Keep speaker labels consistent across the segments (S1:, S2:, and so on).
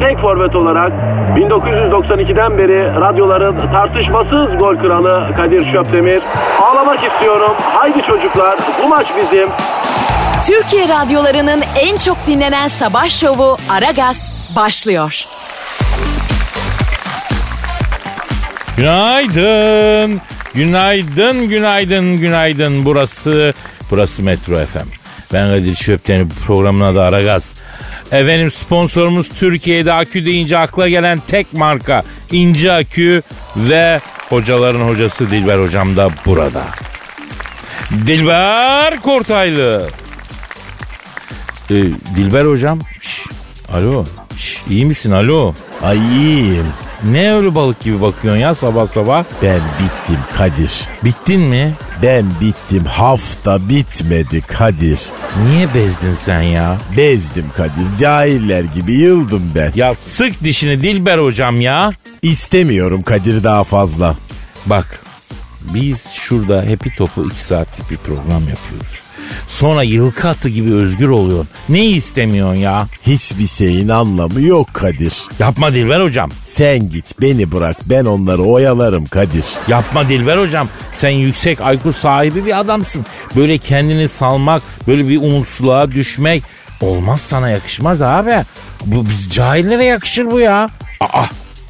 S1: tek forvet olarak 1992'den beri radyoların tartışmasız gol kralı Kadir Şöpdemir. Ağlamak istiyorum. Haydi çocuklar bu maç bizim.
S2: Türkiye radyolarının en çok dinlenen sabah şovu Aragaz başlıyor.
S3: Günaydın. Günaydın, günaydın, günaydın. Burası, burası Metro FM. Ben Kadir Şöpten, bu programın adı Aragaz. Efendim sponsorumuz Türkiye'de akü deyince akla gelen tek marka İnce Akü ve hocaların hocası Dilber Hocam da burada. Dilber Kortaylı. Ee, Dilber Hocam. şş, alo. şş, iyi misin? Alo.
S4: Ay iyiyim.
S3: Ne ölü balık gibi bakıyorsun ya sabah sabah?
S4: Ben bittim Kadir.
S3: Bittin mi?
S4: Ben bittim. Hafta bitmedi Kadir.
S3: Niye bezdin sen ya?
S4: Bezdim Kadir. Cahiller gibi yıldım ben.
S3: Ya sık dişini Dilber hocam ya.
S4: İstemiyorum Kadir daha fazla.
S3: Bak biz şurada Happy Top'u 2 saatlik bir program yapıyoruz. Sonra yılkı atı gibi özgür oluyorsun. Ne istemiyorsun ya?
S4: Hiçbir şeyin anlamı yok Kadir.
S3: Yapma Dilber hocam.
S4: Sen git beni bırak ben onları oyalarım Kadir.
S3: Yapma Dilber hocam. Sen yüksek IQ sahibi bir adamsın. Böyle kendini salmak, böyle bir umutsuzluğa düşmek olmaz sana yakışmaz abi. Bu biz cahillere yakışır bu ya. Aa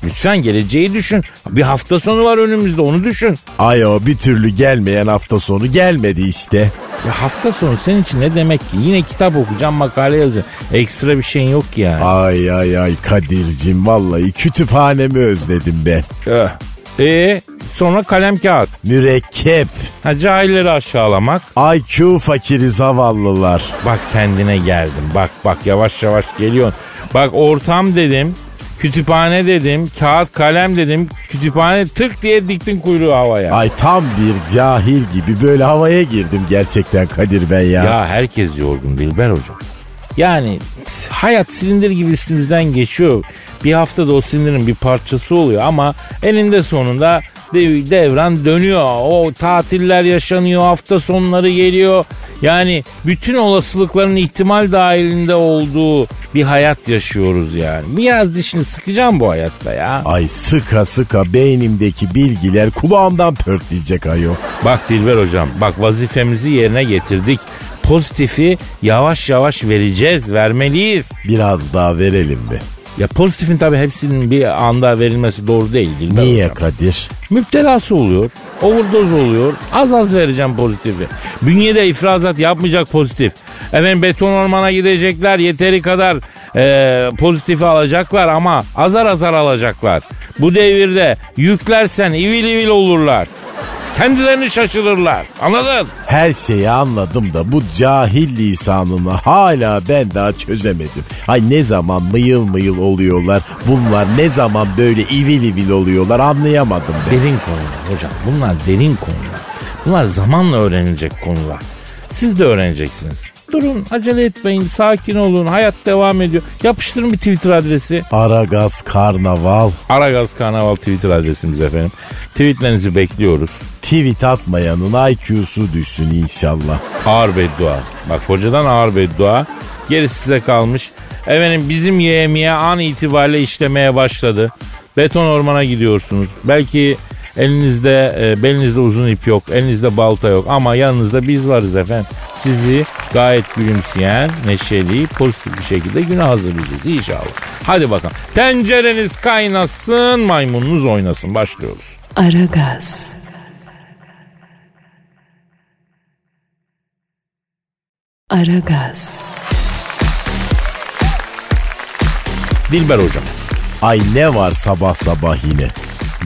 S3: lütfen geleceği düşün. Bir hafta sonu var önümüzde onu düşün.
S4: Ay o bir türlü gelmeyen hafta sonu gelmedi işte.
S3: Ya hafta sonu senin için ne demek ki? Yine kitap okuyacağım, makale yazacağım. Ekstra bir şeyin yok ki yani.
S4: Ay ay ay Kadir'cim vallahi kütüphanemi özledim ben.
S3: Ee, sonra kalem kağıt.
S4: Mürekkep.
S3: Ha, cahilleri aşağılamak.
S4: IQ fakiri zavallılar.
S3: Bak kendine geldim. Bak bak yavaş yavaş geliyorsun. Bak ortam dedim. Kütüphane dedim. Kağıt kalem dedim. Kütüphane tık diye diktin kuyruğu havaya.
S4: Ay tam bir cahil gibi böyle havaya girdim gerçekten Kadir ben ya.
S3: Ya herkes yorgun Dilber hocam. Yani hayat silindir gibi üstümüzden geçiyor. Bir haftada o sinirin bir parçası oluyor ama elinde sonunda dev- devran dönüyor. O tatiller yaşanıyor, hafta sonları geliyor. Yani bütün olasılıkların ihtimal dahilinde olduğu bir hayat yaşıyoruz yani. Biraz dişini sıkacağım bu hayatta ya.
S4: Ay sıka sıka beynimdeki bilgiler kulağımdan pörtleyecek ayol.
S3: Bak Dilber hocam bak vazifemizi yerine getirdik. Pozitifi yavaş yavaş vereceğiz, vermeliyiz.
S4: Biraz daha verelim mi?
S3: Ya pozitifin tabii hepsinin bir anda verilmesi doğru değil Dilber
S4: Niye
S3: hocam.
S4: Kadir?
S3: Müptelası oluyor, overdose oluyor. Az az vereceğim pozitifi. Bünyede ifrazat yapmayacak pozitif. Efendim beton ormana gidecekler, yeteri kadar e, pozitifi alacaklar ama azar azar alacaklar. Bu devirde yüklersen ivil ivil olurlar. Kendilerini şaşırırlar. Anladın?
S4: Her şeyi anladım da bu cahil lisanını hala ben daha çözemedim. Ay ne zaman mıyıl mıyıl oluyorlar bunlar ne zaman böyle ivil ivil oluyorlar anlayamadım ben.
S3: Derin konular hocam. Bunlar derin konular. Bunlar zamanla öğrenilecek konular. Siz de öğreneceksiniz. Durun acele etmeyin sakin olun hayat devam ediyor. Yapıştırın bir Twitter adresi.
S4: Aragaz Karnaval
S3: Aragaz Karnaval Twitter adresimiz efendim. Tweetlerinizi bekliyoruz.
S4: tweet atmayanın IQ'su düşsün inşallah.
S3: Ağır beddua. Bak hocadan ağır beddua. Geri size kalmış. Efendim bizim yemeğe an itibariyle işlemeye başladı. Beton ormana gidiyorsunuz. Belki elinizde, e, belinizde uzun ip yok, elinizde balta yok ama yanınızda biz varız efendim. Sizi gayet gülümseyen, neşeli, pozitif bir şekilde güne hazırlayacağız inşallah. Hadi bakalım. Tencereniz kaynasın, maymununuz oynasın. Başlıyoruz.
S2: Aragaz, Aragaz,
S3: Dilber hocam.
S4: Ay ne var sabah sabah yine.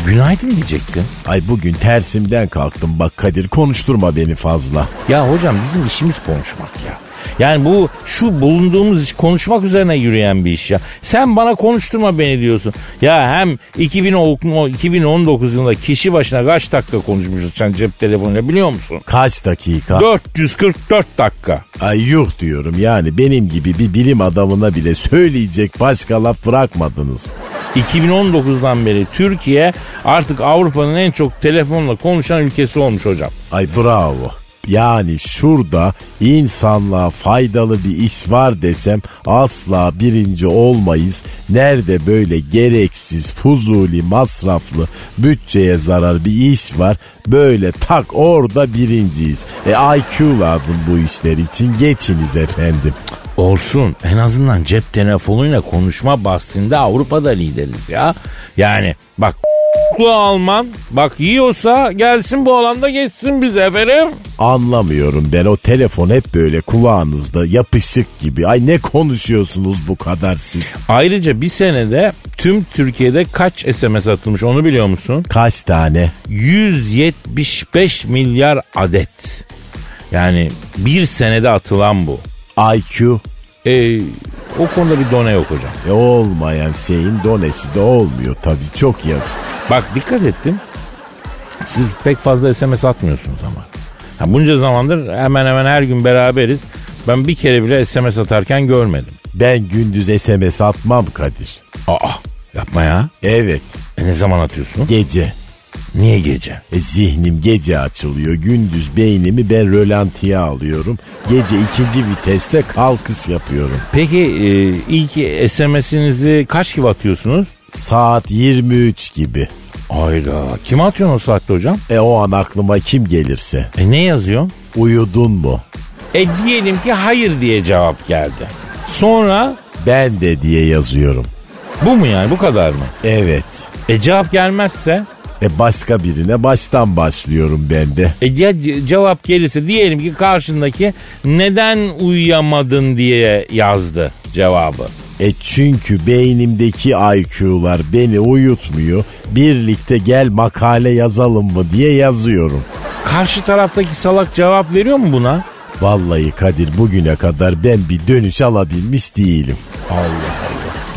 S3: Günaydın diyecektin.
S4: Ay bugün tersimden kalktım bak Kadir konuşturma beni fazla.
S3: Ya hocam bizim işimiz konuşmak ya. Yani bu şu bulunduğumuz iş konuşmak üzerine yürüyen bir iş ya. Sen bana konuşturma beni diyorsun. Ya hem 2010 2019 yılında kişi başına kaç dakika konuşmuşuz sen cep telefonuyla biliyor musun?
S4: Kaç dakika?
S3: 444 dakika.
S4: Ay yuh diyorum yani benim gibi bir bilim adamına bile söyleyecek başka laf bırakmadınız.
S3: 2019'dan beri Türkiye artık Avrupa'nın en çok telefonla konuşan ülkesi olmuş hocam.
S4: Ay bravo. Yani şurada insanlığa faydalı bir iş var desem asla birinci olmayız. Nerede böyle gereksiz, fuzuli, masraflı, bütçeye zarar bir iş var. Böyle tak orada birinciyiz. E IQ lazım bu işler için. Geçiniz efendim.
S3: Olsun en azından cep telefonuyla konuşma bahsinde Avrupa'da lideriz ya. Yani bak bu Alman bak yiyorsa gelsin bu alanda geçsin biz efendim.
S4: Anlamıyorum ben o telefon hep böyle kulağınızda yapışık gibi. Ay ne konuşuyorsunuz bu kadar siz?
S3: Ayrıca bir senede tüm Türkiye'de kaç SMS atılmış onu biliyor musun?
S4: Kaç tane?
S3: 175 milyar adet. Yani bir senede atılan bu.
S4: IQ
S3: E, o konuda bir done yok hocam.
S4: E olmayan şeyin donesi de olmuyor tabii çok yazık.
S3: Bak dikkat ettim. Siz pek fazla SMS atmıyorsunuz ama. Ya bunca zamandır hemen hemen her gün beraberiz. Ben bir kere bile SMS atarken görmedim.
S4: Ben gündüz SMS atmam Kadir.
S3: Aa yapma ya.
S4: Evet
S3: E, ne zaman atıyorsun?
S4: gece.
S3: Niye gece?
S4: E, zihnim gece açılıyor. Gündüz beynimi ben rölantiye alıyorum. Gece ikinci viteste kalkış yapıyorum.
S3: Peki e, ilk SMS'inizi kaç gibi atıyorsunuz?
S4: Saat 23 gibi.
S3: Hayda. Kime atıyorsun o saatte hocam?
S4: E o an aklıma kim gelirse.
S3: E ne yazıyorsun?
S4: Uyudun mu?
S3: E diyelim ki hayır diye cevap geldi. Sonra
S4: Ben de diye yazıyorum.
S3: bu mu yani bu kadar mı?
S4: Evet.
S3: E cevap gelmezse?
S4: E başka birine baştan başlıyorum ben de.
S3: E ya ce- cevap gelirse diyelim ki karşındaki neden uyuyamadın diye yazdı cevabı.
S4: E çünkü beynimdeki IQ'lar beni uyutmuyor. Birlikte gel makale yazalım mı diye yazıyorum.
S3: Karşı taraftaki salak cevap veriyor mu buna?
S4: Vallahi Kadir bugüne kadar ben bir dönüş alabilmiş değilim.
S3: Allah Allah.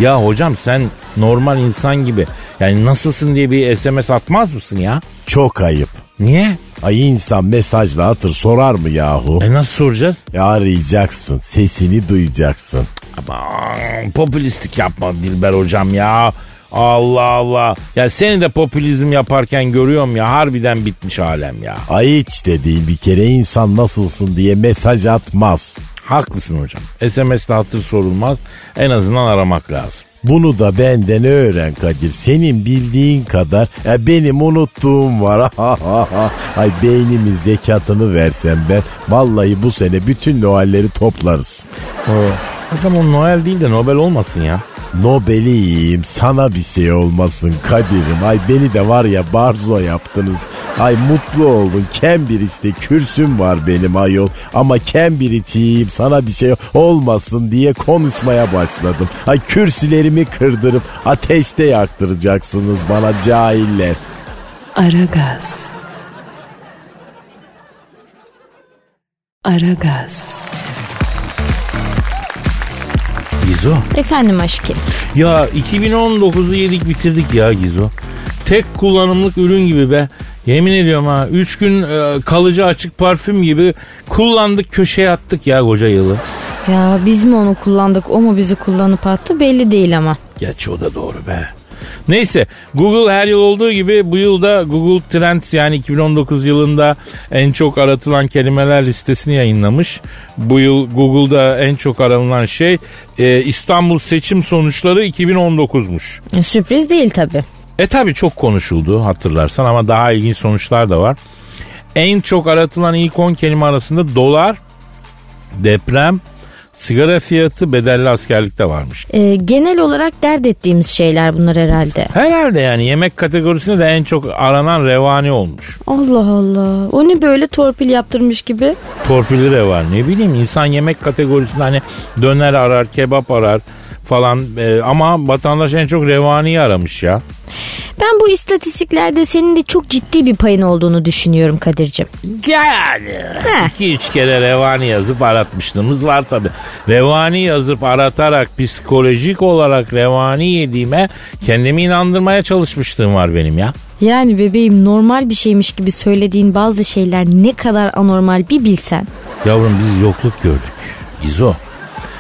S3: Ya hocam sen normal insan gibi yani nasılsın diye bir SMS atmaz mısın ya?
S4: Çok ayıp.
S3: Niye?
S4: Ay insan mesajla atır sorar mı yahu?
S3: E nasıl soracağız?
S4: E arayacaksın, sesini duyacaksın.
S3: Aman popülistlik yapma Dilber hocam ya. Allah Allah. Ya seni de popülizm yaparken görüyorum ya harbiden bitmiş alem ya.
S4: Ay hiç de değil bir kere insan nasılsın diye mesaj atmaz.
S3: Haklısın hocam. SMS'te hatır sorulmaz. En azından aramak lazım.
S4: Bunu da benden öğren Kadir. Senin bildiğin kadar e, benim unuttuğum var. Ay beynimin zekatını versen ben. Vallahi bu sene bütün Noel'leri toplarız.
S3: Hocam o Noel değil de Nobel olmasın ya.
S4: Nobel'i yiyeyim sana bir şey olmasın Kadir'im. Ay beni de var ya barzo yaptınız. Ay mutlu olun. Cambridge'de kürsüm var benim ayol. Ama Cambridge'i yiyeyim sana bir şey olmasın diye konuşmaya başladım. Ay kürsülerimi kırdırıp ateşte yaktıracaksınız bana cahiller.
S5: Aragaz. Aragaz.
S3: Gizo.
S6: Efendim aşkım.
S3: Ya 2019'u yedik bitirdik ya Gizo. Tek kullanımlık ürün gibi be. Yemin ediyorum ha. Üç gün e, kalıcı açık parfüm gibi kullandık köşeye attık ya koca yılı.
S6: Ya biz mi onu kullandık o mu bizi kullanıp attı belli değil ama.
S3: Gerçi o da doğru be. Neyse Google her yıl olduğu gibi bu yıl da Google Trends yani 2019 yılında en çok aratılan kelimeler listesini yayınlamış. Bu yıl Google'da en çok aranılan şey e, İstanbul seçim sonuçları 2019'muş.
S6: E, Sürpriz değil tabi.
S3: E tabi çok konuşuldu hatırlarsan ama daha ilginç sonuçlar da var. En çok aratılan ilk 10 kelime arasında dolar, deprem, sigara fiyatı, bedelli askerlikte varmış.
S6: E, genel olarak dert ettiğimiz şeyler bunlar herhalde.
S3: Herhalde yani yemek kategorisinde de en çok aranan revani olmuş.
S6: Allah Allah. O ne böyle torpil yaptırmış gibi?
S3: Torpilli revani ne bileyim insan yemek kategorisinde hani döner arar, Ee, kebap arar falan e, ama vatandaş en çok revaniyi aramış ya.
S6: Ben bu istatistiklerde senin de çok ciddi bir payın olduğunu düşünüyorum Kadir'cim.
S3: Yani
S6: Heh.
S3: iki üç kere revani yazıp aratmışlığımız var tabi. Revani yazıp aratarak psikolojik olarak revani yediğime kendimi inandırmaya çalışmışlığım var benim ya.
S6: Yani bebeğim normal bir şeymiş gibi söylediğin bazı şeyler ne kadar anormal bir bilsen.
S3: Yavrum biz yokluk gördük. Gizo.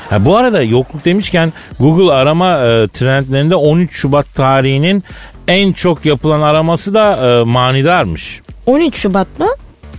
S3: Ha, bu arada yokluk demişken Google arama e, trendlerinde 13 Şubat tarihinin en çok yapılan araması da e, manidarmış.
S6: 13 Şubat mı?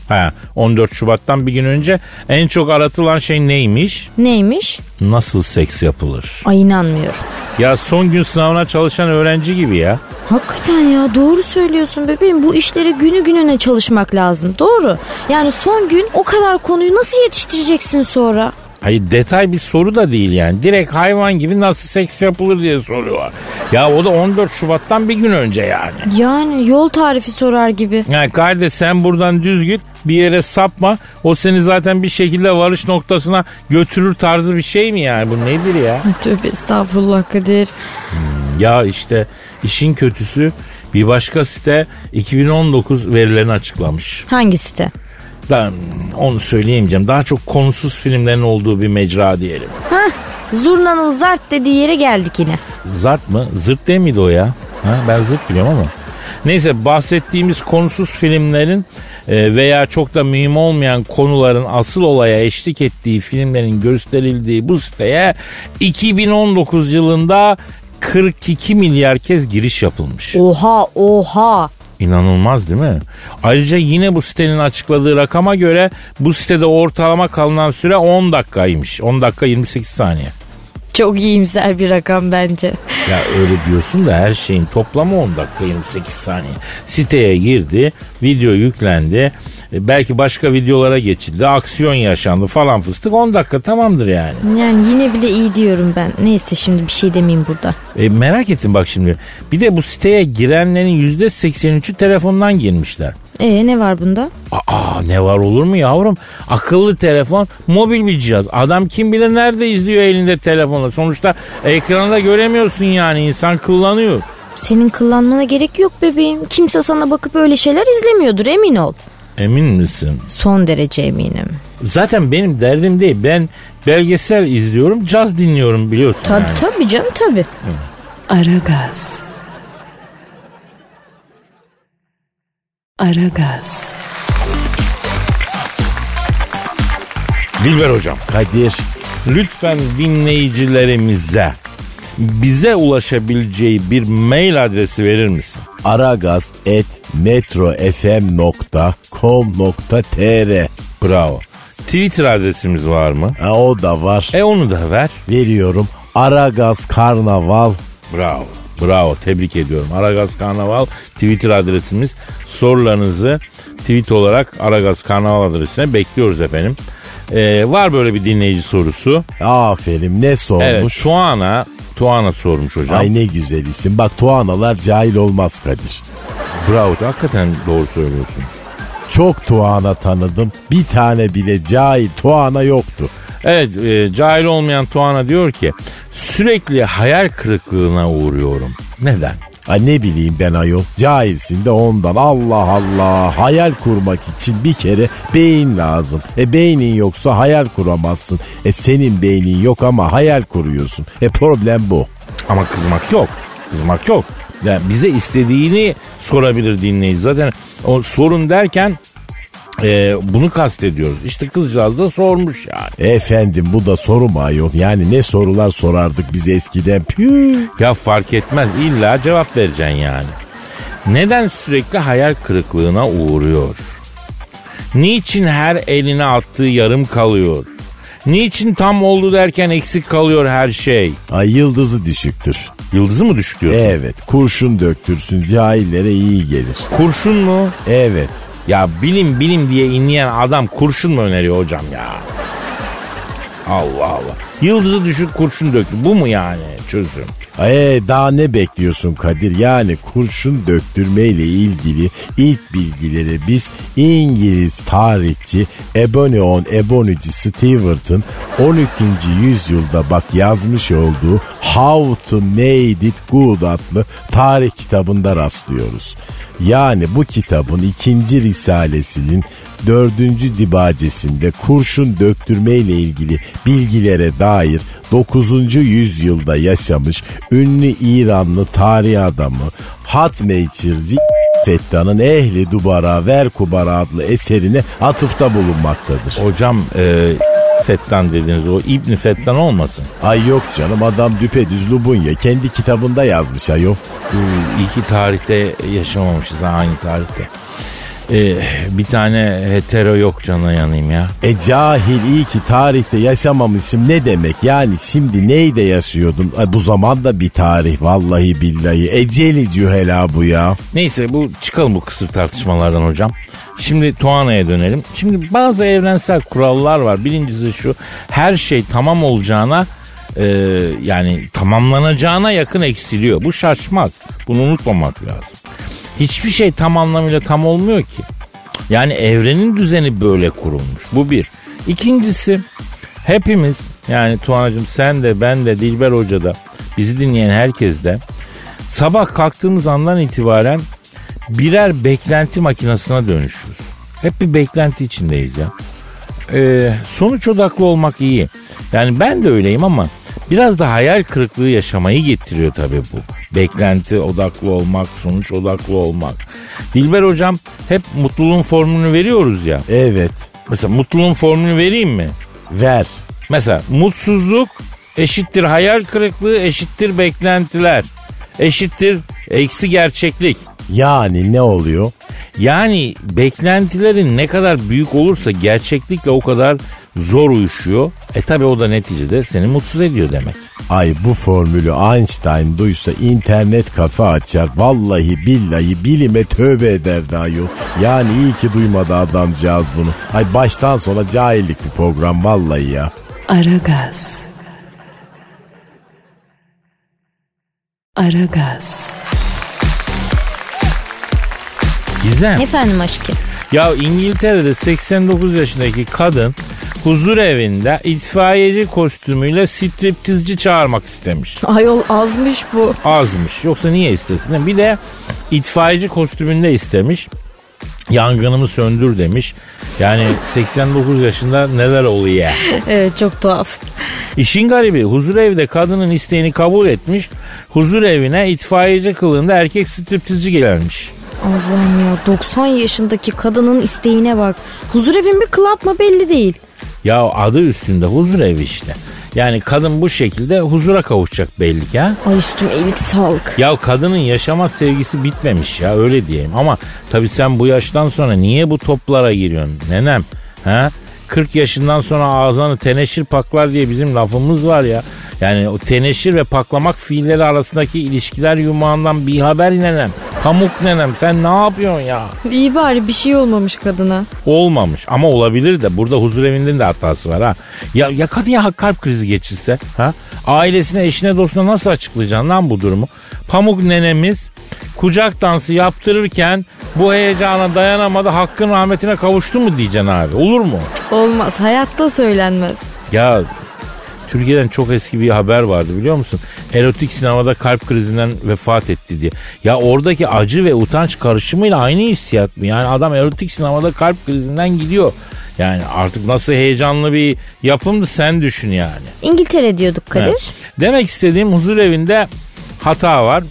S3: Ha, 14 Şubat'tan bir gün önce en çok aratılan şey neymiş?
S6: Neymiş?
S3: Nasıl seks yapılır?
S6: Ay inanmıyorum.
S3: Ya son gün sınavına çalışan öğrenci gibi ya.
S6: Hakikaten ya doğru söylüyorsun bebeğim. Bu işlere günü gününe çalışmak lazım. Doğru. Yani son gün o kadar konuyu nasıl yetiştireceksin sonra?
S3: Hayır detay bir soru da değil yani. Direkt hayvan gibi nasıl seks yapılır diye soruyorlar. Ya o da 14 Şubat'tan bir gün önce yani.
S6: Yani yol tarifi sorar gibi.
S3: Ya kardeş sen buradan düz git bir yere sapma. O seni zaten bir şekilde varış noktasına götürür tarzı bir şey mi yani bu nedir ya?
S6: Tövbe estağfurullah Kadir.
S3: Ya işte işin kötüsü bir başka site 2019 verilerini açıklamış.
S6: Hangi site?
S3: Ben onu söyleyemeyeceğim. Daha çok konusuz filmlerin olduğu bir mecra diyelim.
S6: Hah zurnanın zart dediği yere geldik yine.
S3: Zart mı? Zırt değil miydi o ya? Ha, ben zırt biliyorum ama. Neyse bahsettiğimiz konusuz filmlerin e, veya çok da mühim olmayan konuların asıl olaya eşlik ettiği filmlerin gösterildiği bu siteye 2019 yılında 42 milyar kez giriş yapılmış.
S6: Oha oha.
S3: İnanılmaz değil mi? Ayrıca yine bu sitenin açıkladığı rakama göre bu sitede ortalama kalınan süre 10 dakikaymış. 10 dakika 28 saniye.
S6: Çok iyimser bir rakam bence.
S3: Ya öyle diyorsun da her şeyin toplamı 10 dakika 28 saniye. Siteye girdi, video yüklendi. e, Belki başka videolara geçildi, aksiyon yaşandı falan fıstık 10 dakika tamamdır yani.
S6: Yani yine bile iyi diyorum ben. Neyse şimdi bir şey demeyeyim burada.
S3: E, merak ettim bak şimdi. Bir de bu siteye girenlerin %83'ü telefondan girmişler.
S6: E ne var bunda?
S3: Aa ne var olur mu yavrum? Akıllı telefon, mobil bir cihaz. Adam kim bilir nerede izliyor elinde telefonla. Sonuçta ekranda göremiyorsun yani insan kullanıyor.
S6: Senin kıllanmana gerek yok bebeğim. Kimse sana bakıp öyle şeyler izlemiyordur emin ol.
S3: Emin misin?
S6: Son derece eminim.
S3: Zaten benim derdim değil. Ben belgesel izliyorum, caz dinliyorum biliyorsun.
S6: Tabii
S3: yani.
S6: tabii canım tabii.
S5: Aragaz. Aragaz.
S3: Dilber hocam,
S4: Kadir
S3: lütfen dinleyicilerimize bize ulaşabileceği bir mail adresi verir misin?
S4: aragaz.metrofm.com.tr
S3: Bravo. Twitter adresimiz var mı?
S4: ha, O da var.
S3: E onu da ver.
S4: Veriyorum. Aragaz Karnaval.
S3: Bravo. Bravo. Tebrik ediyorum. Aragaz Karnaval Twitter adresimiz. Sorularınızı tweet olarak Aragaz Karnaval adresine bekliyoruz efendim. Ee, var böyle bir dinleyici sorusu.
S4: Aferin ne
S3: Evet.
S4: sormuş.
S3: Tuana, Tuana sormuş hocam.
S4: Ay ne güzel isim. Bak Tuanalar cahil olmaz Kadir.
S3: Bravo. Hakikaten doğru söylüyorsun.
S4: Çok Tuana tanıdım. Bir tane bile cahil Tuana yoktu.
S3: Evet. e, cahil olmayan Tuana diyor ki sürekli hayal kırıklığına uğruyorum. Neden?
S4: Ay ne bileyim ben ayol. Cahilsin de ondan. Allah Allah. Hayal kurmak için bir kere beyin lazım. E beynin yoksa hayal kuramazsın. E senin beynin yok ama hayal kuruyorsun. E problem bu.
S3: Ama kızmak yok. Kızmak yok. Yani bize istediğini sorabilir dinleyici. Zaten o sorun derken e, bunu kastediyoruz. İşte kızcağız da sormuş yani.
S4: E efendim bu da soru mu ayol? Yani ne sorular sorardık biz eskiden. Püh.
S3: Ya fark etmez illa cevap vereceksin yani. Neden sürekli hayal kırıklığına uğruyor? Niçin her eline attığı yarım kalıyor? Niçin tam oldu derken eksik kalıyor her şey?
S4: Ay yıldızı düşüktür.
S3: Yıldızı mı düşük diyorsun?
S4: Evet kurşun döktürsün cahillere iyi gelir.
S3: Kurşun mu?
S4: Evet
S3: Ya bilim bilim diye inleyen adam kurşun mu öneriyor hocam ya? Allah Allah. Yıldızı düşük kurşun döktü. Bu mu yani? çözüm.
S4: Ee daha ne bekliyorsun Kadir? Yani kurşun döktürmeyle ilgili ilk bilgileri biz İngiliz tarihçi Ebony on Ebonyci Stewart'ın 12. yüzyılda bak yazmış olduğu How to Made It Good adlı tarih kitabında rastlıyoruz. Yani Hani bu kitabın ikinci risalesinin dördüncü dibacesinde kurşun döktürmeyle ilgili bilgilere dair 9. yüzyılda yaşamış ünlü İranlı tarih adamı Hatmeyçirzi Fettan'ın Ehli Dubara Ver Kubara adlı eserine atıfta bulunmaktadır.
S3: Hocam e, Fettan dediniz o İbni Fettan olmasın.
S4: Ay yok canım adam düpedüz Lubunya kendi kitabında yazmış ayol.
S3: Bu iyi ki tarihte yaşamamışız ha, aynı tarihte. E, bir tane hetero yok canına yanayım ya.
S4: E cahil iyi ki tarihte yaşamamışım ne demek yani şimdi neyde yaşıyordun? Ay, bu zamanda bir tarih vallahi billahi eceli cühela bu ya.
S3: Neyse bu çıkalım bu kısır tartışmalardan hocam. Şimdi Tuana'ya dönelim. Şimdi bazı evrensel kurallar var. Birincisi şu her şey tamam olacağına e, yani tamamlanacağına yakın eksiliyor. Bu şaşmaz. Bunu unutmamak lazım. Hiçbir şey tam anlamıyla tam olmuyor ki. Yani evrenin düzeni böyle kurulmuş. Bu bir. İkincisi hepimiz yani Tuğan'cığım sen de ben de Dilber Hoca da bizi dinleyen herkes de sabah kalktığımız andan itibaren birer beklenti makinesine dönüşüyoruz. Hep bir beklenti içindeyiz ya. Ee, sonuç odaklı olmak iyi. Yani ben de öyleyim ama biraz da hayal kırıklığı yaşamayı getiriyor tabii bu. Beklenti odaklı olmak, sonuç odaklı olmak. Dilber hocam hep mutluluğun formülünü veriyoruz ya.
S4: Evet
S3: Mesela mutluluğun formülünü vereyim mi?
S4: ver.
S3: Mesela mutsuzluk eşittir hayal kırıklığı eşittir beklentiler. Eşittir eksi gerçeklik.
S4: Yani ne oluyor?
S3: Yani beklentilerin ne kadar büyük olursa gerçeklikle o kadar zor uyuşuyor. E tabi o da neticede seni mutsuz ediyor demek.
S4: Ay bu formülü Einstein duysa internet kafe açar. Vallahi billahi bilime tövbe ederdi ayol. Yani iyi ki duymadı adamcağız bunu. Ay baştan sona cahillik bir program vallahi ya.
S5: Aragaz. Aragaz.
S3: Gizem.
S6: Efendim aşkım.
S3: Ya İngiltere'de 89 yaşındaki kadın huzur evinde itfaiyeci kostümüyle striptizci çağırmak istemiş.
S6: Ayol azmış bu.
S3: Azmış. Yoksa niye istesin? Bir de itfaiyeci kostümünde istemiş. Yangınımı söndür demiş. Yani 89 yaşında neler oluyor?
S6: Evet çok tuhaf.
S3: İşin garibi huzur evde kadının isteğini kabul etmiş. Huzur evine itfaiyeci kılığında erkek striptizci gelmiş.
S6: Allah'ım ya 90 yaşındaki kadının isteğine bak. Huzurevin bir club mı belli değil.
S3: Ya adı üstünde huzur evi işte. Yani kadın bu şekilde huzura kavuşacak belli ki ha.
S6: Ay üstüm elik sağlık.
S3: Ya kadının yaşama sevgisi bitmemiş ya öyle diyelim. Ama tabii sen bu yaştan sonra niye bu toplara giriyorsun nenem? Ha? 40 yaşından sonra ağzını teneşir paklar diye bizim lafımız var ya. Yani o teneşir ve paklamak fiilleri arasındaki ilişkiler yumağından bir haber nenem. Pamuk nenem sen ne yapıyorsun ya?
S6: İyi bari bir şey olmamış kadına.
S3: Olmamış ama olabilir de burada huzur evinin de hatası var ha. Ya, ya kadın ya kalp krizi geçirse ha? Ailesine eşine dostuna nasıl açıklayacaksın lan bu durumu? Pamuk nenemiz kucak dansı yaptırırken bu heyecana dayanamadı hakkın rahmetine kavuştu mu diyeceksin abi olur mu?
S6: Olmaz hayatta söylenmez.
S3: Ya Türkiye'den çok eski bir haber vardı biliyor musun? Erotik sinemada kalp krizinden vefat etti diye. Ya oradaki acı ve utanç karışımıyla aynı hissiyat mı? Yani adam erotik sinemada kalp krizinden gidiyor. Yani artık nasıl heyecanlı bir yapımdı sen düşün yani.
S6: İngiltere diyorduk Kadir.
S3: Evet. Demek istediğim huzur evinde hata var.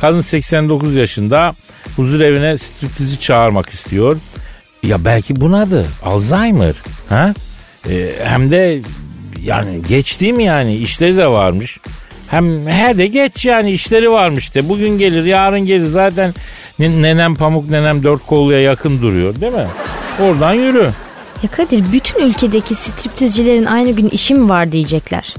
S3: Kadın 89 yaşında huzur evine striptizi çağırmak istiyor. Ya belki bunadı. Alzheimer. Ha? Ee, hem de yani geç değil mi yani? işleri de varmış. Hem her de geç yani işleri varmış de. Bugün gelir yarın gelir zaten ne- nenem pamuk nenem dört kolluya yakın duruyor değil mi? Oradan yürü.
S6: Ya Kadir bütün ülkedeki striptizcilerin aynı gün işim var diyecekler.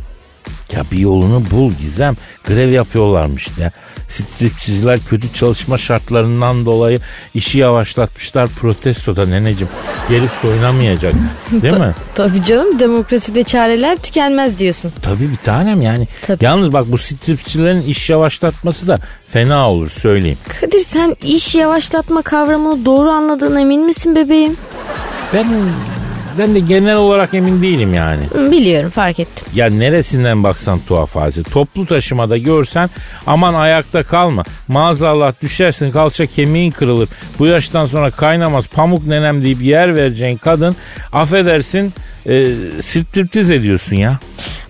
S3: Ya bir yolunu bul Gizem. Grev yapıyorlarmış ya. Stripsizler kötü çalışma şartlarından dolayı işi yavaşlatmışlar protestoda neneciğim. Gelip soyunamayacak. Değil mi?
S6: Tabii canım demokraside çareler tükenmez diyorsun.
S3: Tabii bir tanem yani.
S6: Tabii.
S3: Yalnız bak bu stripçilerin iş yavaşlatması da fena olur söyleyeyim.
S6: Kadir sen iş yavaşlatma kavramını doğru anladığına emin misin bebeğim?
S3: Ben ben de genel olarak emin değilim yani.
S6: Hı, Biliyorum fark ettim.
S3: Ya neresinden baksan tuhaf hadise. Toplu taşımada görsen aman ayakta kalma. Maazallah düşersin kalça kemiğin kırılır. Bu yaştan sonra kaynamaz pamuk nenem deyip yer vereceğin kadın affedersin e, striptiz ediyorsun ya.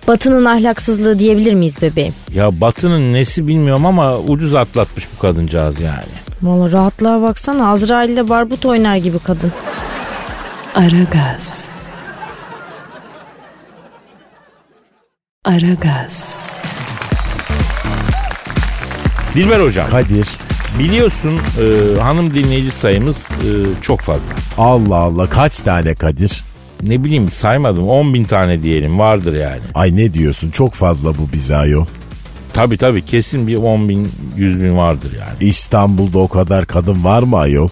S6: Batının ahlaksızlığı diyebilir miyiz bebeğim?
S3: Ya batının nesi bilmiyorum ama ucuz atlatmış bu kadıncağız yani.
S6: Valla rahatlığa baksana Azrail ile barbut oynar gibi kadın.
S5: Aragaz. Aragaz.
S3: Dilber hocam
S4: Kadir.
S3: biliyorsun e, hanım dinleyici sayımız e, çok fazla.
S4: Allah Allah kaç tane Kadir?
S3: Ne bileyim saymadım 10 bin tane diyelim vardır yani.
S4: Ay ne diyorsun çok fazla bu bize ayol.
S3: Tabii tabii kesin bir 10 bin 100 bin vardır yani.
S4: İstanbul'da o kadar kadın var mı ayol?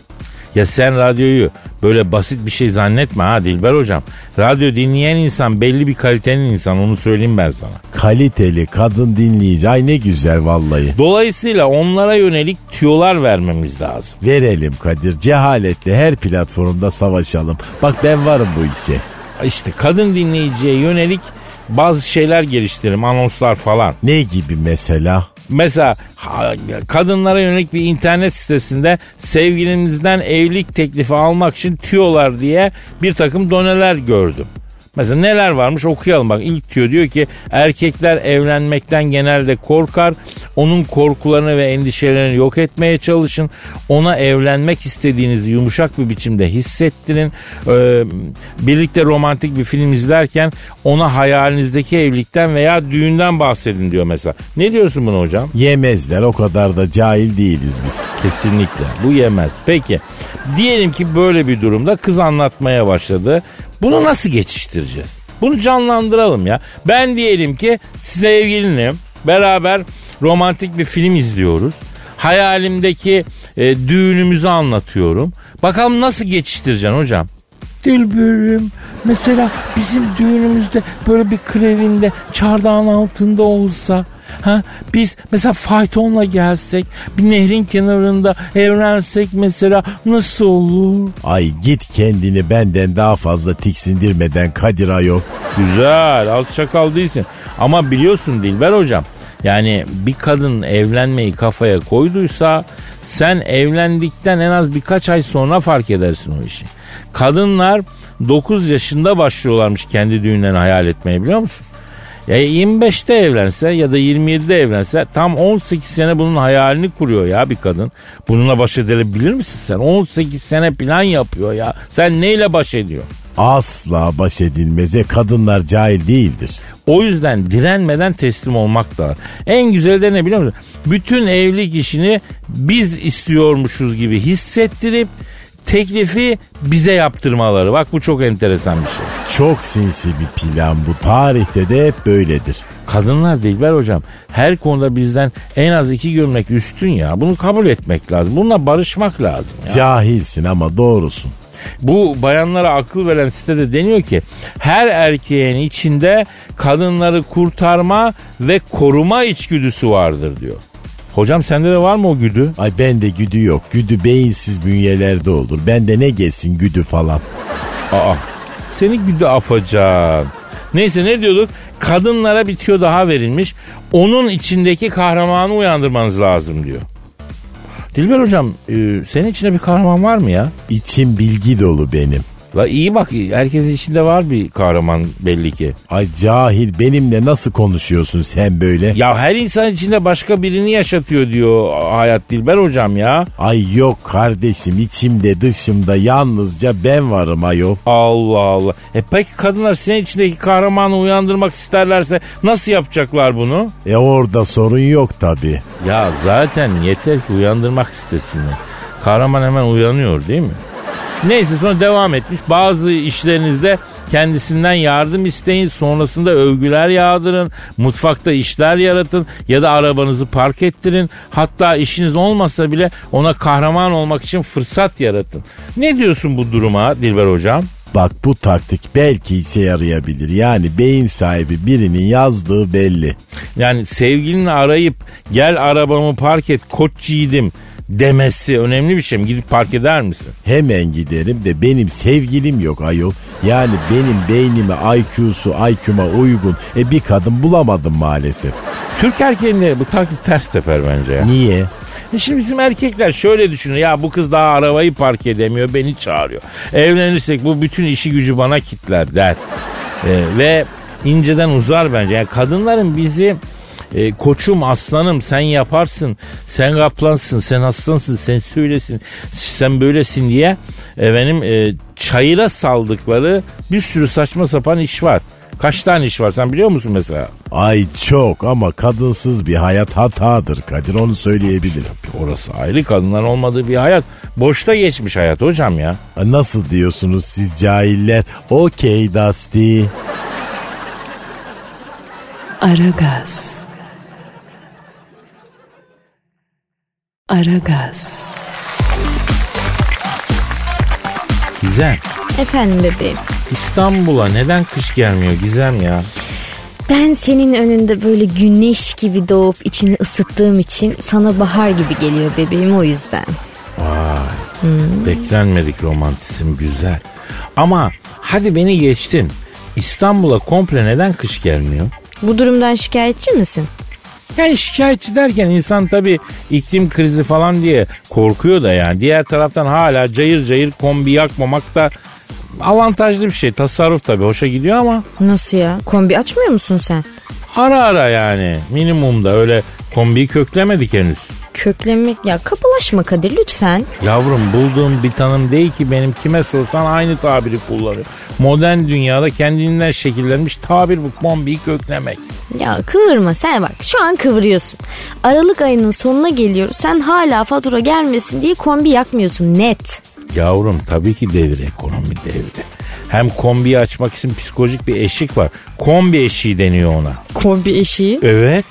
S3: Ya sen radyoyu böyle basit bir şey zannetme ha Dilber hocam. Radyo dinleyen insan belli bir kalitenin insan onu söyleyeyim ben sana.
S4: Kaliteli kadın dinleyici ay ne güzel vallahi.
S3: Dolayısıyla onlara yönelik tüyolar vermemiz lazım.
S4: Verelim Kadir cehaletle her platformda savaşalım. Bak ben varım bu işe.
S3: İşte kadın dinleyiciye yönelik bazı şeyler geliştirelim anonslar falan.
S4: Ne gibi mesela?
S3: Mesela ha- kadınlara yönelik bir internet sitesinde sevgilinizden evlilik teklifi almak için tüyolar diye bir takım doneler gördüm. Mesela neler varmış okuyalım bak ilk tüyo diyor ki erkekler evlenmekten genelde korkar. Onun korkularını ve endişelerini yok etmeye çalışın. Ona evlenmek istediğinizi yumuşak bir biçimde hissettirin. Ee, birlikte romantik bir film izlerken ona hayalinizdeki evlilikten veya düğünden bahsedin diyor mesela. Ne diyorsun buna hocam?
S4: Yemezler o kadar da cahil değiliz biz.
S3: Kesinlikle. Bu yemez. Peki. Diyelim ki böyle bir durumda kız anlatmaya başladı. Bunu nasıl geçiştireceğiz? Bunu canlandıralım ya. Ben diyelim ki sevgilinim. Beraber romantik bir film izliyoruz. Hayalimdeki e, düğünümüzü anlatıyorum. Bakalım nasıl geçiştireceksin hocam? Dilber'im mesela bizim düğünümüzde böyle bir krevinde çardağın altında olsa ha biz mesela faytonla gelsek bir nehrin kenarında evlensek mesela nasıl olur?
S4: Ay git kendini benden daha fazla tiksindirmeden Kadir ayol.
S3: Güzel az çakal değilsin ama biliyorsun Dilber hocam yani bir kadın evlenmeyi kafaya koyduysa sen evlendikten en az birkaç ay sonra fark edersin o işi. Kadınlar 9 yaşında başlıyorlarmış kendi düğünlerini hayal etmeye biliyor musun? Ya 25'te evlense ya da 27'de evlense tam 18 sene bunun hayalini kuruyor ya bir kadın. Bununla baş edilebilir misin sen? 18 sene plan yapıyor ya. Sen neyle baş ediyorsun?
S4: Asla baş edilmeze kadınlar cahil değildir.
S3: O yüzden direnmeden teslim olmak da var. En güzeli de ne biliyor musun? Bütün evlilik işini biz istiyormuşuz gibi hissettirip teklifi bize yaptırmaları. Bak bu çok enteresan bir şey.
S4: Çok sinsi bir plan bu. Tarihte de hep böyledir.
S3: Kadınlar Dilber hocam her konuda bizden en az iki gömlek üstün ya. Bunu kabul etmek lazım. Bununla barışmak lazım. Ya.
S4: Cahilsin ama doğrusun.
S3: Bu bayanlara akıl veren sitede deniyor ki her erkeğin içinde kadınları kurtarma ve koruma içgüdüsü vardır diyor. Hocam sende de var mı o güdü?
S4: Ay bende güdü yok. Güdü beyinsiz bünyelerde olur. Bende ne gelsin güdü falan.
S3: Aa seni güdü afacan. Neyse ne diyorduk? Kadınlara bir tüyo daha verilmiş. Onun içindeki kahramanı uyandırmanız lazım diyor. Dilber hocam e, senin içinde bir kahraman var mı ya?
S4: İçim bilgi dolu benim.
S3: La iyi bak herkesin içinde var bir kahraman belli ki.
S4: Ay cahil benimle nasıl konuşuyorsun sen böyle?
S3: Ya her insan içinde başka birini yaşatıyor diyor Hayat Dilber hocam ya.
S4: Ay yok kardeşim içimde dışımda yalnızca ben varım ayol.
S3: Allah Allah. E peki kadınlar senin içindeki kahramanı uyandırmak isterlerse nasıl yapacaklar bunu?
S4: E orada sorun yok tabi.
S3: Ya zaten yeter ki uyandırmak istesinler. Kahraman hemen uyanıyor değil mi? Neyse sonra devam etmiş. Bazı işlerinizde Kendisinden yardım isteyin. Sonrasında övgüler yağdırın. Mutfakta işler yaratın. Ya da arabanızı park ettirin. Hatta işiniz olmasa bile ona kahraman olmak için fırsat yaratın. Ne diyorsun bu duruma Dilber Hocam?
S4: Bak bu taktik belki işe yarayabilir. Yani beyin sahibi birinin yazdığı belli.
S3: Yani sevgilini arayıp gel arabamı park et koç yiğidim demesi önemli bir şey mi? Gidip park eder misin?
S4: Hemen giderim de benim sevgilim yok ayol. Yani benim beynime IQ'su IQ'ma uygun. E bir kadın bulamadım maalesef.
S3: Türk erkeğinde bu taktik ters teper bence ya.
S4: Niye?
S3: E Şimdi bizim erkekler şöyle düşünüyor. Ya bu kız daha arabayı park edemiyor beni çağırıyor. Evlenirsek bu bütün işi gücü bana kitler der. E, ve inceden uzar bence. Yani kadınların bizi e, koçum aslanım sen yaparsın sen kaplansın sen aslansın sen söylesin sen böylesin diye efendim e, çayıra saldıkları bir sürü saçma sapan iş var. Kaç tane iş var sen biliyor musun mesela?
S4: Ay çok ama kadınsız bir hayat hatadır Kadir onu söyleyebilirim.
S3: Orası ayrı kadınların olmadığı bir hayat. Boşta geçmiş hayat hocam ya.
S4: E, Nasıl diyorsunuz siz cahiller? Okey Dusty.
S5: Aragaz. Aragaz.
S3: Gizem
S6: Efendim bebeğim.
S3: İstanbul'a neden kış gelmiyor Gizem ya?
S6: Ben senin önünde böyle güneş gibi doğup içini ısıttığım için sana bahar gibi geliyor bebeğim o yüzden.
S3: Beklenmedik romantizm güzel. Ama hadi beni geçtin. İstanbul'a komple neden kış gelmiyor?
S6: Bu durumdan şikayetçi misin?
S3: Yani şikayetçi derken insan tabii iklim krizi falan diye korkuyor da yani. Diğer taraftan hala cayır cayır kombi yakmamak da avantajlı bir şey. Tasarruf tabii hoşa gidiyor ama
S6: Nasıl ya? Kombi açmıyor musun sen?
S3: ara ara yani minimumda öyle kombiyi köklemedik henüz.
S6: Köklemek ya kapalaşma Kadir lütfen.
S3: Yavrum bulduğum bir tanım değil ki benim kime sorsan aynı tabiri kullanıyor. Modern dünyada kendinden şekillenmiş tabir bu kombiyi köklemek.
S6: Ya kıvırma sen bak şu an kıvırıyorsun. Aralık ayının sonuna geliyoruz sen hala fatura gelmesin diye kombi yakmıyorsun net.
S3: Yavrum tabii ki devir ekonomi devri. Hem kombiyi açmak için psikolojik bir eşik var. Kombi eşiği deniyor ona.
S6: Kombi eşiği.
S3: Evet.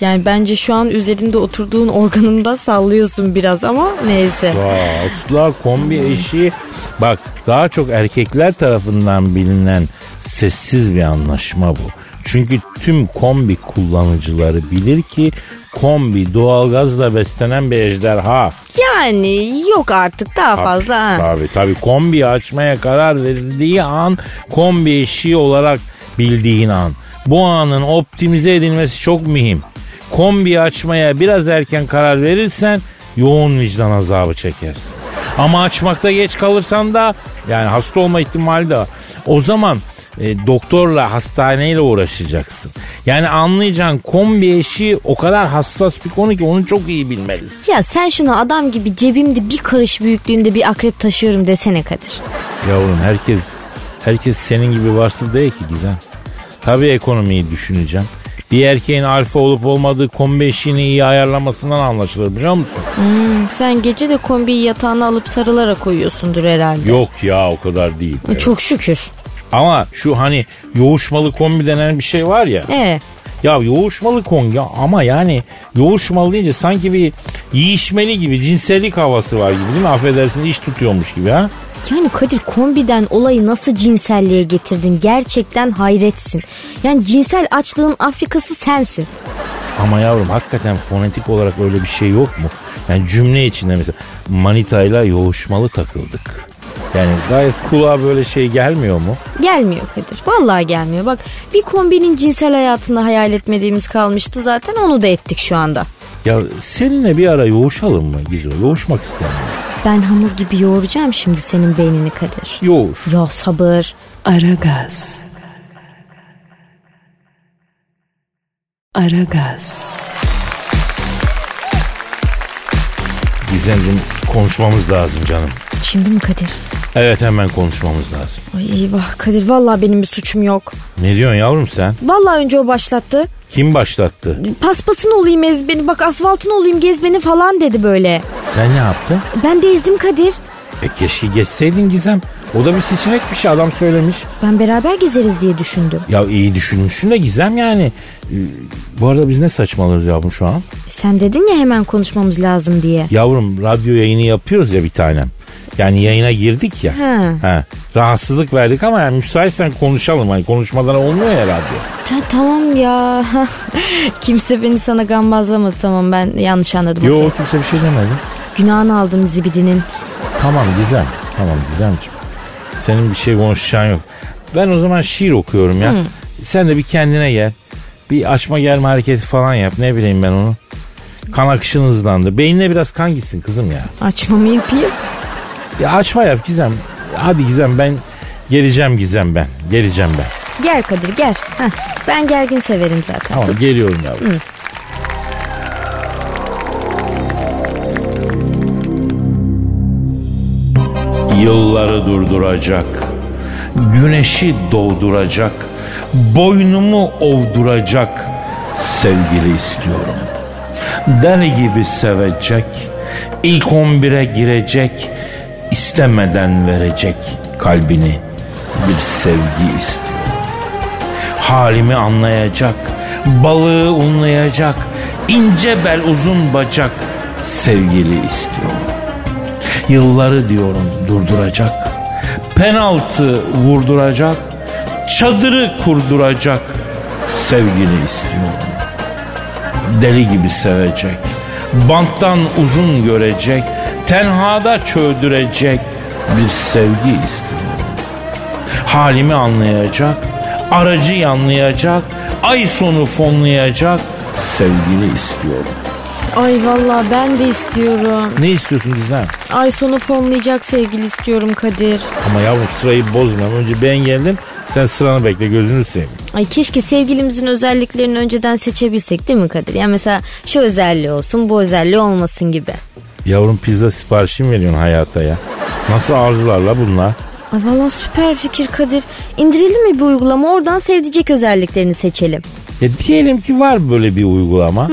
S6: Yani bence şu an üzerinde oturduğun organında sallıyorsun biraz ama neyse.
S3: Aa, asla kombi eşiği bak daha çok erkekler tarafından bilinen sessiz bir anlaşma bu. Çünkü tüm kombi kullanıcıları bilir ki kombi doğalgazla beslenen bir ejderha.
S6: Yani yok artık daha fazla. ha.
S3: Tabii tabii kombi açmaya karar verildiği an kombi eşiği olarak bildiğin an. Bu anın optimize edilmesi çok mühim. Kombi açmaya biraz erken karar verirsen yoğun vicdan azabı çekersin. Ama açmakta geç kalırsan da yani hasta olma ihtimali de var. O zaman e, doktorla hastaneyle uğraşacaksın. Yani anlayacağın kombi eşiği o kadar hassas bir konu ki onu çok iyi bilmelisin.
S6: Ya sen şuna adam gibi cebimde bir karış büyüklüğünde bir akrep taşıyorum desene Kadir.
S3: Yavrum herkes herkes senin gibi varsın değil ki Gizem. Tabii ekonomiyi düşüneceğim. Bir erkeğin alfa olup olmadığı kombi eşiğini iyi ayarlamasından anlaşılır biliyor musun?
S6: Sen gece de kombiyi yatağına alıp sarılarak koyuyorsundur herhalde.
S3: Yok ya o kadar değil.
S6: E, Çok şükür.
S3: Ama şu hani yoğuşmalı kombi denen bir şey var ya.
S6: E,
S3: Ya yoğuşmalı kombi ama yani yoğuşmalı deyince sanki bir yiyişmeli gibi cinsellik havası var gibi değil mi? Affedersin iş tutuyormuş gibi ha?
S6: yani Kadir kombiden olayı nasıl cinselliğe getirdin gerçekten hayretsin. Yani cinsel açlığın Afrikası sensin.
S3: Ama yavrum hakikaten fonetik olarak öyle bir şey yok mu? Yani cümle içinde mesela manitayla yoğuşmalı takıldık. Yani gayet kulağa böyle şey gelmiyor mu?
S6: Gelmiyor Kadir. Vallahi gelmiyor. Bak bir kombinin cinsel hayatını hayal etmediğimiz kalmıştı zaten onu da ettik şu anda.
S3: Ya seninle bir ara yoğuşalım mı Gizo? Yoğuşmak istemiyorum.
S6: Ben hamur gibi yoğuracağım şimdi senin beynini Kadir.
S3: Yoğuş.
S6: Ya sabır.
S5: Aragaz. Aragaz.
S3: Gizemciğim konuşmamız lazım canım.
S6: Şimdi mi Kadir?
S3: Evet hemen konuşmamız lazım.
S6: Ay eyvah Kadir vallahi benim bir suçum yok.
S3: Ne diyorsun yavrum sen?
S6: Vallahi önce o başlattı.
S3: Kim başlattı?
S6: Paspasın olayım ez beni bak asfaltın olayım gez beni falan dedi böyle.
S3: Sen ne yaptın?
S6: Ben de ezdim Kadir.
S3: E keşke geçseydin Gizem. O da bir seçenekmiş adam söylemiş.
S6: Ben beraber gezeriz diye düşündüm.
S3: Ya iyi düşünmüşsün de Gizem yani. Ee, Bu arada biz ne saçmalıyoruz yavrum şu an?
S6: Sen dedin ya hemen konuşmamız lazım diye.
S3: Yavrum radyo yayını yapıyoruz ya bir tanem. Yani yayına girdik ya.
S6: He.
S3: Rahatsızlık verdik ama yani müsaitsen konuşalım. Hani konuşmadan olmuyor ya radyo.
S6: Ta- tamam ya. Kimse beni sana gambazlamadı tamam ben yanlış anladım.
S3: Yok kimse bir şey demedi.
S6: Günahını aldım zibidinin.
S3: Tamam Gizem. Tamam Gizemciğim. Senin bir şey konuşacağın yok. Ben o zaman şiir okuyorum ya. Sen de bir kendine gel. Bir açma gelme hareketi falan yap. Ne bileyim ben onu. Kan akışın hızlandı. Beynine biraz kan gitsin kızım ya.
S6: Açmamı yapayım.
S3: Ya açma yap Gizem. Hadi Gizem ben geleceğim Gizem ben. Geleceğim ben.
S6: Gel Kadir gel. Heh, ben gergin severim zaten.
S3: Tamam
S6: Dur.
S3: geliyorum yavrum. Yılları durduracak, güneşi doğduracak, boynumu ovduracak sevgili istiyorum. Deli gibi sevecek, ilk 11'e girecek, istemeden verecek kalbini bir sevgi istiyorum halimi anlayacak, balığı unlayacak, ince bel uzun bacak sevgili istiyorum. Yılları diyorum durduracak, penaltı vurduracak, çadırı kurduracak sevgili istiyorum. Deli gibi sevecek, banttan uzun görecek, tenhada çöldürecek bir sevgi istiyorum halimi anlayacak, aracı yanlayacak, ay sonu fonlayacak sevgili istiyorum.
S6: Ay vallahi ben de istiyorum.
S3: Ne istiyorsun Gizem?
S6: Ay sonu fonlayacak sevgili istiyorum Kadir.
S3: Ama yavrum sırayı bozma. Önce ben geldim. Sen sıranı bekle gözünü seveyim.
S6: Ay keşke sevgilimizin özelliklerini önceden seçebilsek değil mi Kadir? Yani mesela şu özelliği olsun bu özelliği olmasın gibi.
S3: Yavrum pizza siparişi mi veriyorsun hayata ya? Nasıl arzularla bunlar?
S6: Ay valla süper fikir Kadir. İndirelim mi bir uygulama oradan sevdicek özelliklerini seçelim.
S3: Ya diyelim ki var böyle bir uygulama.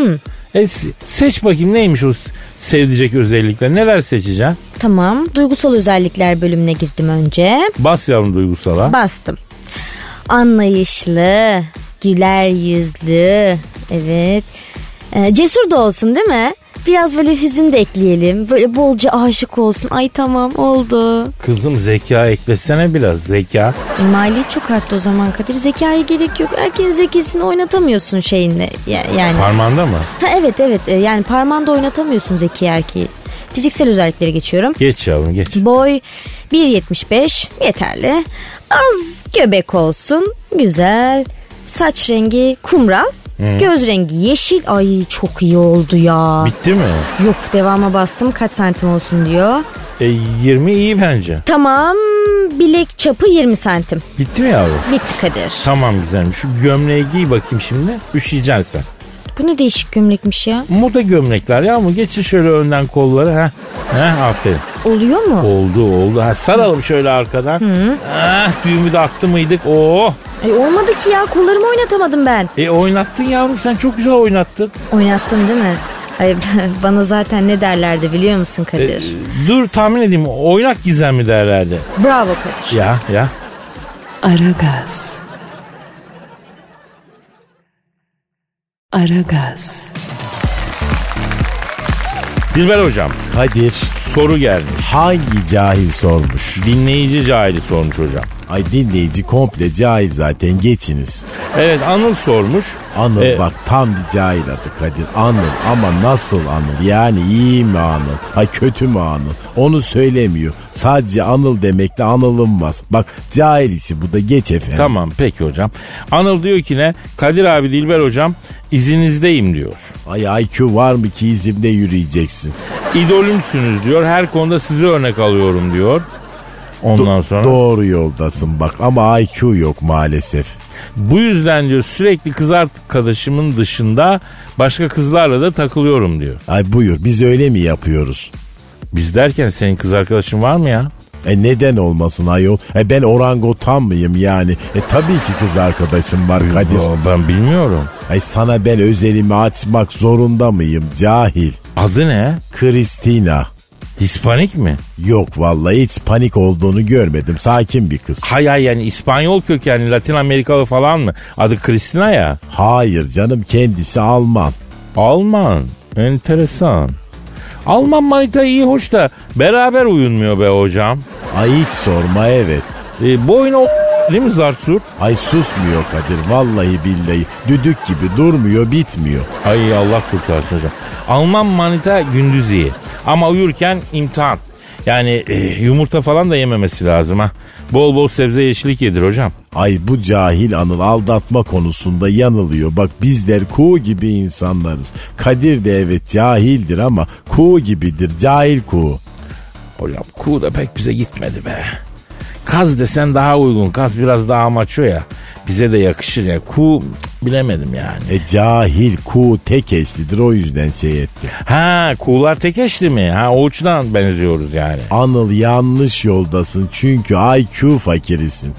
S3: E, se- seç bakayım neymiş o s- sevdicek özellikler? Neler seçeceksin?
S6: Tamam duygusal özellikler bölümüne girdim önce.
S3: Bas yavrum duygusala.
S6: Bastım. Anlayışlı, güler yüzlü, evet. Ee, cesur da olsun değil mi? Biraz böyle hüzün de ekleyelim. Böyle bolca aşık olsun. Ay tamam oldu.
S3: Kızım zeka eklesene biraz zeka.
S6: E, maliyet çok arttı o zaman Kadir. Zekaya gerek yok. Erkeğin zekisini oynatamıyorsun şeyinle. Ya- yani.
S3: Parmağında mı?
S6: Ha, evet evet E, yani parmağında oynatamıyorsun zeki erkeği. Fiziksel özelliklere geçiyorum.
S3: Geç yavrum geç.
S6: Boy 1.75 yeterli. Az göbek olsun. Güzel. Saç rengi kumral. Göz rengi yeşil. Ay çok iyi oldu ya.
S3: Bitti mi?
S6: Yok devama bastım kaç santim olsun diyor.
S3: E, 20 iyi bence.
S6: Tamam bilek çapı 20 santim.
S3: Bitti mi yavrum?
S6: Bitti Kadir.
S3: Tamam güzelmiş. Şu gömleği giy bakayım şimdi. Üşüyeceksin sen.
S6: Bu ne değişik gömlekmiş ya.
S3: Moda gömlekler ya ama geçin şöyle önden kolları. ha. Heh aferin.
S6: Oluyor mu?
S3: Oldu oldu. Ha, saralım şöyle arkadan. Ah, düğümü de attı mıydık? Oo.
S6: Ay olmadı ki ya kollarımı oynatamadım ben.
S3: E oynattın yavrum sen çok güzel oynattın.
S6: Oynattım değil mi? Ay, bana zaten ne derlerdi biliyor musun
S3: E,
S6: Kadir?
S3: dur tahmin edeyim oynak gizem mi derlerdi?
S6: Bravo Kadir.
S3: Ya ya.
S5: Aragaz. Aragaz.
S3: Dilber hocam
S4: Kadir
S3: soru gelmiş.
S4: hangi cahil sormuş?
S3: Dinleyici cahili sormuş hocam.
S4: Ay dinleyici komple cahil zaten geçiniz.
S3: Evet Anıl sormuş.
S4: Anıl
S3: E,
S4: bak tam bir cahil adı Kadir. Anıl ama nasıl Anıl? Yani iyi mi Anıl? Ay kötü mü Anıl? Onu söylemiyor. Sadece Anıl demekle anılınmaz. Bak cahil işi bu da geç efendim.
S3: Tamam peki hocam. Anıl diyor ki ne? Kadir abi Dilber hocam izinizdeyim diyor.
S4: Ay IQ var mı ki izimde yürüyeceksin?
S3: İdolümsünüz diyor. Her konuda sizi örnek alıyorum diyor. Ondan sonra
S4: Doğru yoldasın bak ama IQ yok maalesef.
S3: bu yüzden diyor sürekli kız arkadaşımın dışında başka kızlarla da takılıyorum diyor.
S4: Ay buyur biz öyle mi yapıyoruz?
S3: Biz derken senin kız arkadaşın var mı ya?
S4: E neden olmasın ayol? E ben orangutan mıyım yani? E tabii ki kız arkadaşım var Kadir.
S3: Ya Ben bilmiyorum.
S4: Ay sana ben özelimi açmak zorunda mıyım cahil?
S3: Adı ne?
S4: Kristina.
S3: Hispanik mi?
S4: Yok vallahi hiç panik olduğunu görmedim. Sakin bir kız.
S3: Hay hay yani İspanyol kökenli Latin Amerikalı falan mı? Adı Kristina ya.
S4: Hayır canım kendisi Alman.
S3: Alman. Enteresan. Alman manita iyi hoş da beraber uyunmuyor be hocam.
S4: Ay hiç sorma evet.
S3: E, boyuna o... değil mi Zartsur?
S4: Ay susmuyor Kadir vallahi billahi. Düdük gibi durmuyor bitmiyor.
S3: Ay Allah kurtarsın hocam. Alman manita gündüz iyi. Ama uyurken imtihan. Yani e, yumurta falan da yememesi lazım ha. Bol bol sebze yeşillik yedir hocam.
S4: Ay bu cahil Anıl aldatma konusunda yanılıyor. Bak bizler kuğu gibi insanlarız. Kadir de evet cahildir ama kuğu gibidir. Cahil kuğu.
S3: Hocam kuğu da pek bize gitmedi be. Kaz desen daha uygun. Kaz biraz daha maço ya. Bize de yakışır ya. Kuğu cık, bilemedim yani.
S4: E cahil kuğu tek eşlidir o yüzden şey etti.
S3: Ha kuğular tek eşli mi? Ha o uçtan benziyoruz yani.
S4: Anıl yanlış yoldasın çünkü IQ fakirisin.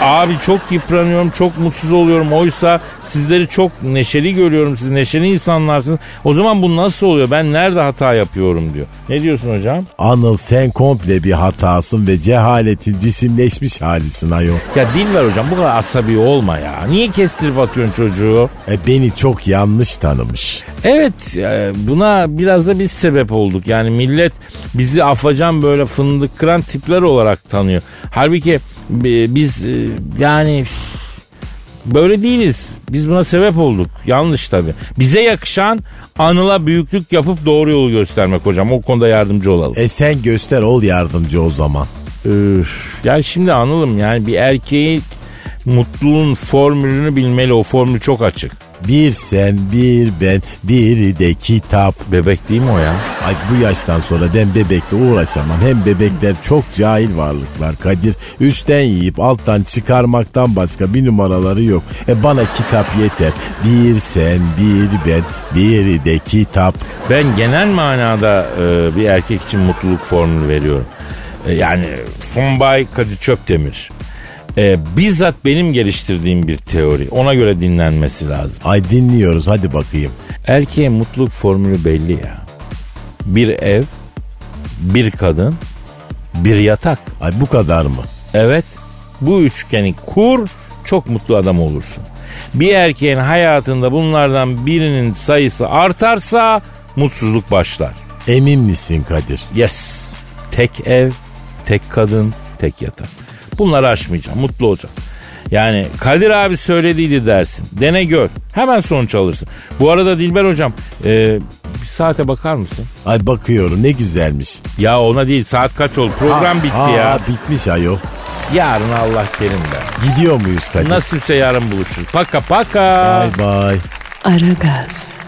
S3: Abi çok yıpranıyorum, çok mutsuz oluyorum. Oysa sizleri çok neşeli görüyorum. Siz neşeli insanlarsınız. O zaman bu nasıl oluyor? Ben nerede hata yapıyorum diyor. Ne diyorsun hocam?
S4: Anıl sen komple bir hatasın ve cehaletin cisimleşmiş halisin ayol.
S3: Ya dil ver hocam bu kadar asabi olma ya. Niye kestirip atıyorsun çocuğu?
S4: E beni çok yanlış tanımış.
S3: Evet e, buna biraz da biz sebep olduk. Yani millet bizi afacan böyle fındık kıran tipler olarak tanıyor. Halbuki e, biz e, yani üf, böyle değiliz. Biz buna sebep olduk. Yanlış tabii. Bize yakışan anıla büyüklük yapıp doğru yolu göstermek hocam. O konuda yardımcı olalım.
S4: E sen göster ol yardımcı o zaman.
S3: E, Üf, ya şimdi anılım yani bir erkeği mutluluğun formülünü bilmeli. O formül çok açık.
S4: Bir sen bir ben biri de kitap.
S3: Bebek değil mi o ya?
S4: Ay bu yaştan sonra ben bebekle uğraşamam. Hem bebekler çok cahil varlıklar Kadir. Üstten yiyip alttan çıkarmaktan başka bir numaraları yok. E bana kitap yeter. Bir sen bir ben biri de kitap.
S3: Ben genel manada e, bir erkek için mutluluk formülü veriyorum. E, yani Fonbay Kadir Çöptemir. E, bizzat benim geliştirdiğim bir teori. Ona göre dinlenmesi lazım.
S4: Ay dinliyoruz hadi bakayım.
S3: Erkeğe mutluluk formülü belli ya. Bir ev, bir kadın, bir yatak.
S4: Ay bu kadar mı?
S3: Evet bu üçgeni kur çok mutlu adam olursun. Bir erkeğin hayatında bunlardan birinin sayısı artarsa mutsuzluk başlar.
S4: Emin misin Kadir?
S3: Yes. Tek ev, tek kadın, tek yatak. Bunları aşmayacağım. Mutlu olacağım. Yani Kadir abi söylediydi dersin. Dene gör. Hemen sonuç alırsın. Bu arada Dilber hocam e, bir saate bakar mısın?
S4: Ay bakıyorum ne güzelmiş.
S3: Ya ona değil saat kaç oldu? Program
S4: Ha,
S3: bitti
S4: ha,
S3: ya.
S4: Bitmiş ayol.
S3: Yarın Allah kerim be.
S4: Gidiyor muyuz Kadir?
S3: Nasipse yarın buluşuruz. Paka paka.
S4: Bay bay.
S5: Aragaz.